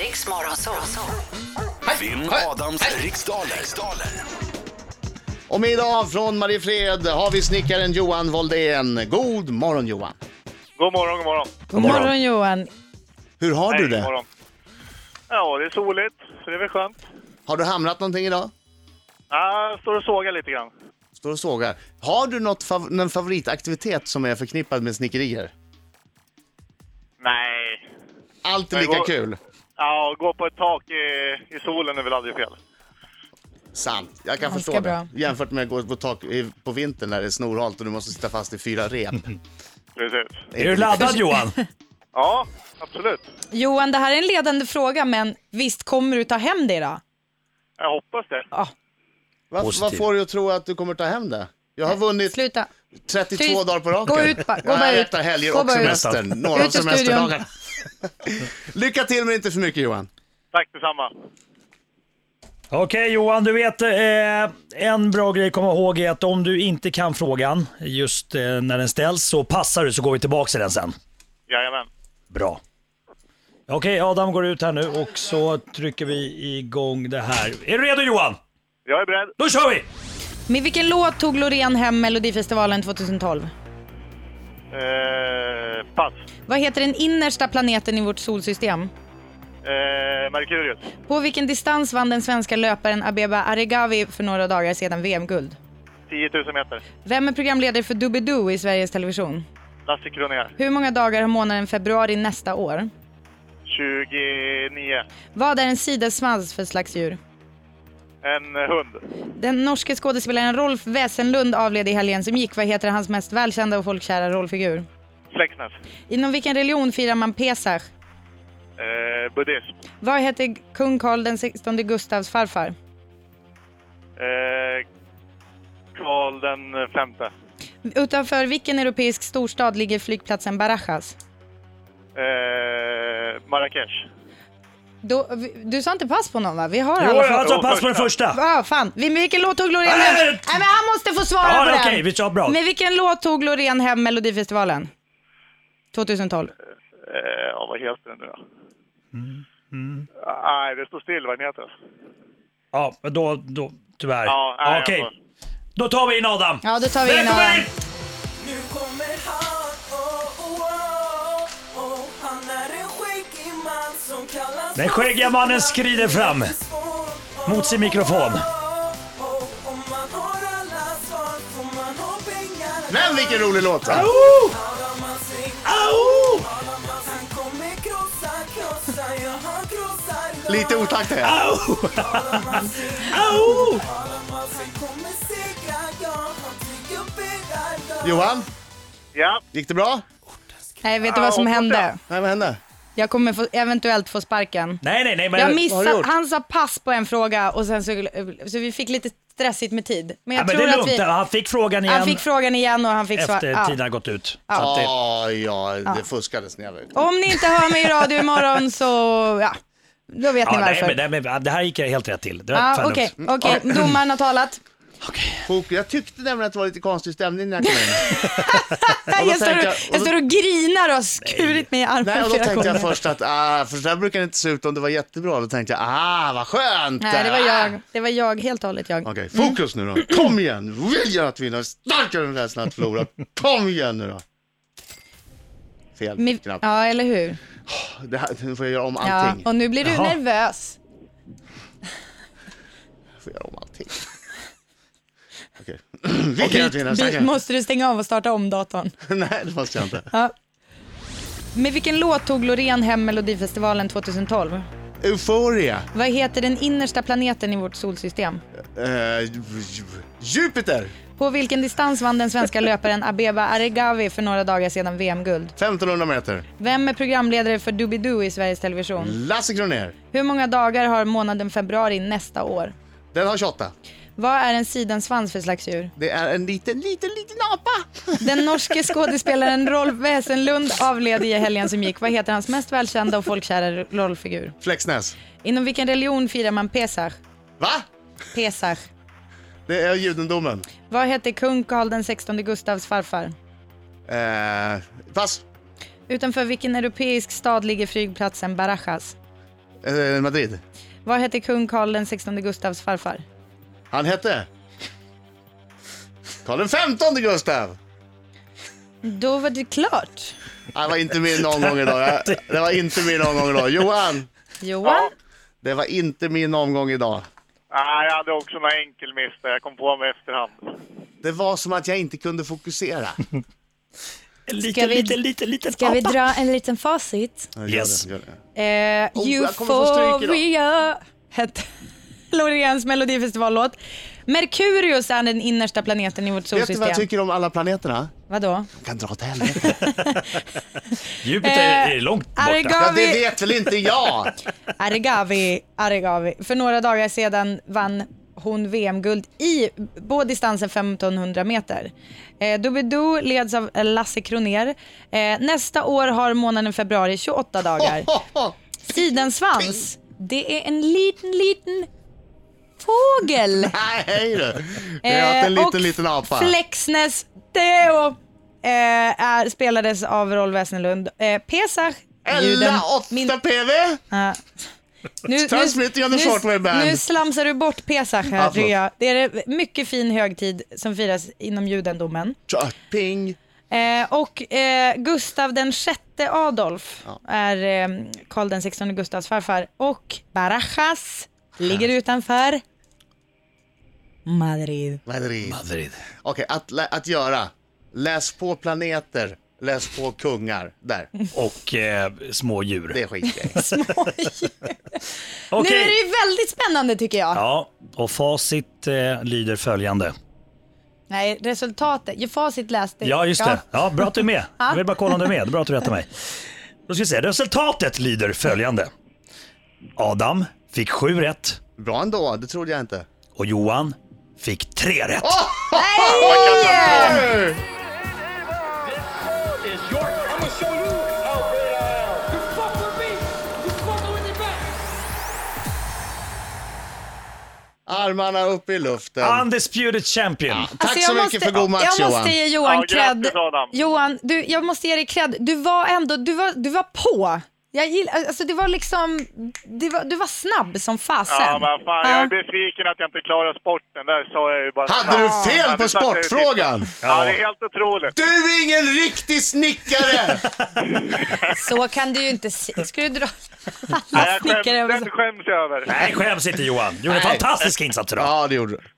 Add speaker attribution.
Speaker 1: Riks Morgonzoo.
Speaker 2: Vinn Adams riksdaler. riksdaler.
Speaker 3: Och med idag från Mariefred har vi snickaren Johan Woldén. God morgon Johan!
Speaker 4: God morgon, god morgon.
Speaker 5: God morgon Johan.
Speaker 3: Hur har du
Speaker 4: Nej, god
Speaker 3: det?
Speaker 4: morgon. Ja, det är soligt, så det är väl skönt.
Speaker 3: Har du hamrat någonting idag?
Speaker 4: Ja, jag står och sågar lite grann.
Speaker 3: Står och sågar. Har du något fav- någon favoritaktivitet som är förknippad med snickerier?
Speaker 4: Nej.
Speaker 3: Allt är
Speaker 4: Nej,
Speaker 3: lika
Speaker 4: vad-
Speaker 3: kul.
Speaker 4: Ja, gå på ett tak i, i solen är väl aldrig fel.
Speaker 3: Sant, jag kan
Speaker 5: Ganska
Speaker 3: förstå det.
Speaker 5: bra.
Speaker 3: Jämfört med att gå på tak i- på vintern när det är snorhalt och du måste sitta fast i fyra rep.
Speaker 4: Precis.
Speaker 6: Är du laddad Johan?
Speaker 4: Ja, absolut.
Speaker 5: Johan, det här är en ledande fråga, men visst kommer du ta hem det då?
Speaker 4: Jag hoppas det.
Speaker 3: Vad, vad
Speaker 6: Positiv.
Speaker 3: får du att tro att du kommer ta hem det? Jag har vunnit
Speaker 5: Sluta.
Speaker 3: 32
Speaker 5: Tyst.
Speaker 3: dagar på raken.
Speaker 5: Gå ut bara, gå
Speaker 3: Nej,
Speaker 5: bara
Speaker 3: jag
Speaker 5: ut.
Speaker 3: räknar helger
Speaker 5: Gå
Speaker 3: och
Speaker 5: bara ut.
Speaker 3: semestern. Några av
Speaker 5: Ut ur studion.
Speaker 3: semesterdagarna. Lycka till men inte för mycket Johan.
Speaker 4: Tack detsamma.
Speaker 6: Okej Johan, du vet eh, en bra grej att komma ihåg är att om du inte kan frågan just eh, när den ställs så passar du så går vi tillbaka till den sen.
Speaker 4: Jajamän.
Speaker 6: Bra. Okej Adam går ut här nu och så trycker vi igång det här. Är du redo Johan?
Speaker 4: Jag är beredd.
Speaker 6: Då kör vi!
Speaker 5: Med vilken låt tog Loreen hem Melodifestivalen 2012?
Speaker 4: Eh, pass.
Speaker 5: Vad heter den innersta planeten i vårt solsystem?
Speaker 4: Eh, Merkurius.
Speaker 5: På vilken distans vann den svenska löparen Abeba Aregawi för några dagar sedan VM-guld?
Speaker 4: 10 000 meter.
Speaker 5: Vem är programledare för Doobidoo i Sveriges Television?
Speaker 4: Lasse Kronér.
Speaker 5: Hur många dagar har månaden februari nästa år?
Speaker 4: 29.
Speaker 5: Vad är en sidesvans för slags djur?
Speaker 4: En hund.
Speaker 5: Den norske skådespelaren Rolf Wesenlund avled i helgen som gick. Vad heter hans mest välkända och folkkära rollfigur?
Speaker 4: Flexnäs.
Speaker 5: Inom vilken religion firar man Pesach?
Speaker 4: Eh, buddhism.
Speaker 5: Vad hette kung Karl den 16 Gustavs farfar?
Speaker 4: Eh, Karl den femte.
Speaker 5: Utanför vilken europeisk storstad ligger flygplatsen Barajas?
Speaker 4: Eh, Marrakesh.
Speaker 5: Då, vi- du sa inte pass på någon va? Vi har
Speaker 6: Jo,
Speaker 5: alla
Speaker 6: jag tar pass på den
Speaker 4: första.
Speaker 6: första.
Speaker 5: Ah, fan. Vi- Men vilken låt tog Loreen
Speaker 6: Nej,
Speaker 5: hem?
Speaker 6: nej,
Speaker 5: Nej
Speaker 6: nej.
Speaker 5: men han måste få svara
Speaker 6: Ja,
Speaker 5: på den!
Speaker 6: okej, vi kör bra.
Speaker 5: Men vilken låt tog Loreen hem Melodifestivalen? 2012.
Speaker 4: Eh, ja, vad heter den nu då?
Speaker 3: Mm,
Speaker 4: Nej, det står still vad den heter.
Speaker 6: Ja, men då, då tyvärr.
Speaker 4: Ja, nej,
Speaker 6: Okej,
Speaker 4: jag får-
Speaker 6: då tar vi in Adam.
Speaker 5: Ja, då tar vi in
Speaker 6: Välkommen
Speaker 5: honom.
Speaker 6: in!
Speaker 7: Nu kommer han, oh, oh, oh, oh. Han är en skäggig man som kallas
Speaker 6: Den skäggiga mannen skrider fram mot sin mikrofon.
Speaker 3: Men vilken rolig låt! va?
Speaker 6: Oh! Oh!
Speaker 3: Lite otakt är jag.
Speaker 6: Oh! Oh!
Speaker 3: Johan,
Speaker 4: Ja,
Speaker 3: gick det bra?
Speaker 5: Nej, vet du vad som
Speaker 4: hoppas
Speaker 5: hände?
Speaker 3: Nej, vad hände?
Speaker 5: Jag kommer få, eventuellt få sparken.
Speaker 6: Nej, nej, nej, men...
Speaker 3: vad
Speaker 5: Jag
Speaker 3: har du
Speaker 5: missade,
Speaker 3: gjort?
Speaker 5: han sa pass på en fråga och sen så, så vi fick lite stressigt med tid. Men
Speaker 6: ja,
Speaker 5: jag
Speaker 6: men det
Speaker 5: tror
Speaker 6: är
Speaker 5: att
Speaker 6: lugnt.
Speaker 5: vi,
Speaker 6: Han fick frågan igen
Speaker 5: han fick frågan igen och han fick svar.
Speaker 6: efter
Speaker 5: ja.
Speaker 6: tiden hade gått ut. Så att det...
Speaker 3: Ah, ja, det fuskades när jag var ute.
Speaker 5: Om ni inte hör mig i radio imorgon så, ja, då vet
Speaker 6: Ja,
Speaker 5: ni
Speaker 6: nej,
Speaker 5: varför.
Speaker 6: men, nej, men, det här gick jag helt rätt till. Det var
Speaker 5: Ja,
Speaker 6: fan
Speaker 5: okej,
Speaker 6: lugnt.
Speaker 5: okej. Domaren har talat.
Speaker 3: Fok- Jag tyckte nämligen att det var lite konstig stämning när jag kom in.
Speaker 5: Jag,
Speaker 3: då
Speaker 5: står
Speaker 3: tänkte
Speaker 5: och,
Speaker 3: jag- och
Speaker 5: jag
Speaker 3: då-
Speaker 5: står och grinar och har skurit mig i armen
Speaker 3: Nej, och då
Speaker 5: flera
Speaker 3: tänkte jag
Speaker 5: gånger.
Speaker 3: först att, ah, för så där brukar det inte se ut om det var jättebra. Då tänkte jag, ah, vad skönt!
Speaker 5: Nej, det var
Speaker 3: Ah.
Speaker 5: jag. Mm. Det var jag, helt och hållet jag.
Speaker 3: Okej, fokus nu då. Kom igen, nu vill jag att vinna, starkare än rädslan att förlora. Kom igen nu då. Fel
Speaker 5: Mi-
Speaker 3: knapp.
Speaker 5: Ja, eller hur?
Speaker 3: Det här, nu får jag göra om
Speaker 5: Ja,
Speaker 3: allting.
Speaker 5: och nu blir du
Speaker 6: Jaha.
Speaker 5: nervös.
Speaker 3: Jag får göra om allting. Okej. Vill jag att vinna,
Speaker 5: Vi-
Speaker 3: starkare.
Speaker 5: Måste du stänga av och starta om datorn?
Speaker 3: Nej, det måste jag inte.
Speaker 5: Ja. Med vilken låt tog Loreen hem Melodifestivalen 2012?
Speaker 3: Euphoria.
Speaker 5: Vad heter den innersta planeten i vårt solsystem?
Speaker 3: Eh, Ju- Jupiter.
Speaker 5: På vilken distans vann den svenska löparen Abeba Aregawi för några dagar sedan VM-guld?
Speaker 3: 1500 meter.
Speaker 5: Vem är programledare för Doobidoo i Sveriges Television?
Speaker 3: Lasse Kronér.
Speaker 5: Hur många dagar har månaden februari nästa år?
Speaker 3: Den har 28.
Speaker 5: Vad är en sidensvans för slags djur?
Speaker 3: Det är en liten, liten, liten apa.
Speaker 5: Den norske skådespelaren Rolf Wesenlund avled i helgen som gick. Vad heter hans mest välkända och folkkära rollfigur?
Speaker 3: Flexnäs.
Speaker 5: Inom vilken religion firar man Pesach?
Speaker 3: Va?
Speaker 5: Pesach.
Speaker 3: Det är judendomen.
Speaker 5: Vad hette kung Karl den 16 Gustavs farfar?
Speaker 3: Eh, pass.
Speaker 5: Utanför vilken europeisk stad ligger flygplatsen Barajas?
Speaker 3: Eh, Madrid.
Speaker 5: Vad hette kung Karl den 16 Gustavs farfar?
Speaker 3: Han hette? Karl den femtonde Gustav!
Speaker 5: Då var det klart.
Speaker 3: Det var inte min omgång idag. Jag- Det var inte min omgång idag. Johan!
Speaker 5: Johan?
Speaker 3: Det var inte min omgång idag.
Speaker 4: Nej, jag hade också några enkelmiss där. Jag kom på mig efterhand.
Speaker 3: Det var som att jag inte kunde fokusera.
Speaker 6: Lite,
Speaker 5: Ska vi-
Speaker 6: lite, lite, lite.
Speaker 1: Ska vi dra en liten facit?
Speaker 3: Ja,
Speaker 6: Yes.
Speaker 3: gör det, gör det.
Speaker 5: Eh,
Speaker 3: Oh, jag kommer få stryk idag.
Speaker 5: Euphoria hette Loreens melodifestivallåt. Merkurius är den innersta planeten i vårt
Speaker 3: Vet du vad jag
Speaker 5: solsystem.
Speaker 3: tycker om alla planeterna?
Speaker 5: Vadå?
Speaker 3: De kan dra åt helvete.
Speaker 6: Jupiter
Speaker 5: Eh,
Speaker 6: är långt borta.
Speaker 3: Ja, det
Speaker 5: Arigavi,
Speaker 3: vet väl inte jag!
Speaker 5: Arigavi, Arigavi. För några dagar sedan vann hon VM-guld i båda distansen 1500 meter. Eh, Doobidoo leds av Lasse Kroner. Eh, nästa år har månaden februari 28 dagar. Sidensvans, det är en liten, liten fågel.
Speaker 3: Nej, hej du! Det är en
Speaker 5: Eh,
Speaker 3: liten, liten apa.
Speaker 5: Flexnes Deo eh, är, spelades av Rolf Wesenlund. Eh, Pesach, juden-
Speaker 3: Ella 8
Speaker 5: min-
Speaker 3: PV!
Speaker 5: Ja. Nu, nu,
Speaker 3: Transmitting of the Shortwave Band.
Speaker 5: nu slamsar du bort Pesach
Speaker 3: Ja,
Speaker 5: här
Speaker 3: förlåt.
Speaker 5: tycker jag. Det är en mycket fin högtid som firas inom judendomen.
Speaker 3: Tja, Ping!
Speaker 5: Eh, och eh, Gustav den sjätte Adolf
Speaker 3: Ja.
Speaker 5: är eh, Karl den sextonde Gustavs farfar. Och Barajas ligger utanför Madrid.
Speaker 3: Madrid. Okej, att, lä- att göra. Läs på planeter, läs på kungar. Där,
Speaker 6: Och eh, små djur.
Speaker 3: det är skitgrej.
Speaker 5: Nu
Speaker 6: Okej.
Speaker 5: är det ju väldigt spännande tycker jag.
Speaker 6: Ja, och facit eh, lyder följande.
Speaker 5: Nej, resultatet. Ju facit läste
Speaker 6: Ja, just det. Ja, bra att du är med. Jag vill bara kolla om du är med. Det är Bra att du rättar mig. Då ska vi se. Resultatet lyder följande. Adam fick sju rätt
Speaker 3: Bra ändå, det trodde jag inte.
Speaker 6: och Johan fick tre rätt.
Speaker 3: Armarna upp i luften.
Speaker 6: Undisputed champion.
Speaker 3: Tack
Speaker 5: Alltså,
Speaker 3: så
Speaker 5: jag
Speaker 3: mycket för god match
Speaker 5: Jag
Speaker 3: Johan.
Speaker 5: måste ge Johan
Speaker 4: Ja,
Speaker 5: cred.
Speaker 4: grattis, Adam.
Speaker 5: Johan, du, jag måste ge dig cred. Du var ändå, du var, du var på. Jag gillar, alltså det var liksom, det var, du var snabb som fasen.
Speaker 4: Ja, men fan, jag är
Speaker 5: Ja.
Speaker 4: besviken att jag inte klarar sporten. Där sa jag ju bara...
Speaker 3: Hade
Speaker 4: Fan,
Speaker 3: du fel
Speaker 4: hade
Speaker 3: på
Speaker 4: satt dig och tittat.
Speaker 3: sportfrågan?
Speaker 4: Ja, det är helt otroligt.
Speaker 3: Du är ingen riktig snickare!
Speaker 5: Så kan du ju inte se. Ska du dra
Speaker 4: Nej, jag
Speaker 5: alla
Speaker 4: skäms,
Speaker 5: snickare över
Speaker 4: den skäms jag över.
Speaker 6: Nej, skäms inte Johan. Gjorde en
Speaker 3: Nej.
Speaker 6: fantastisk insats idag.
Speaker 3: ja, det gjorde du.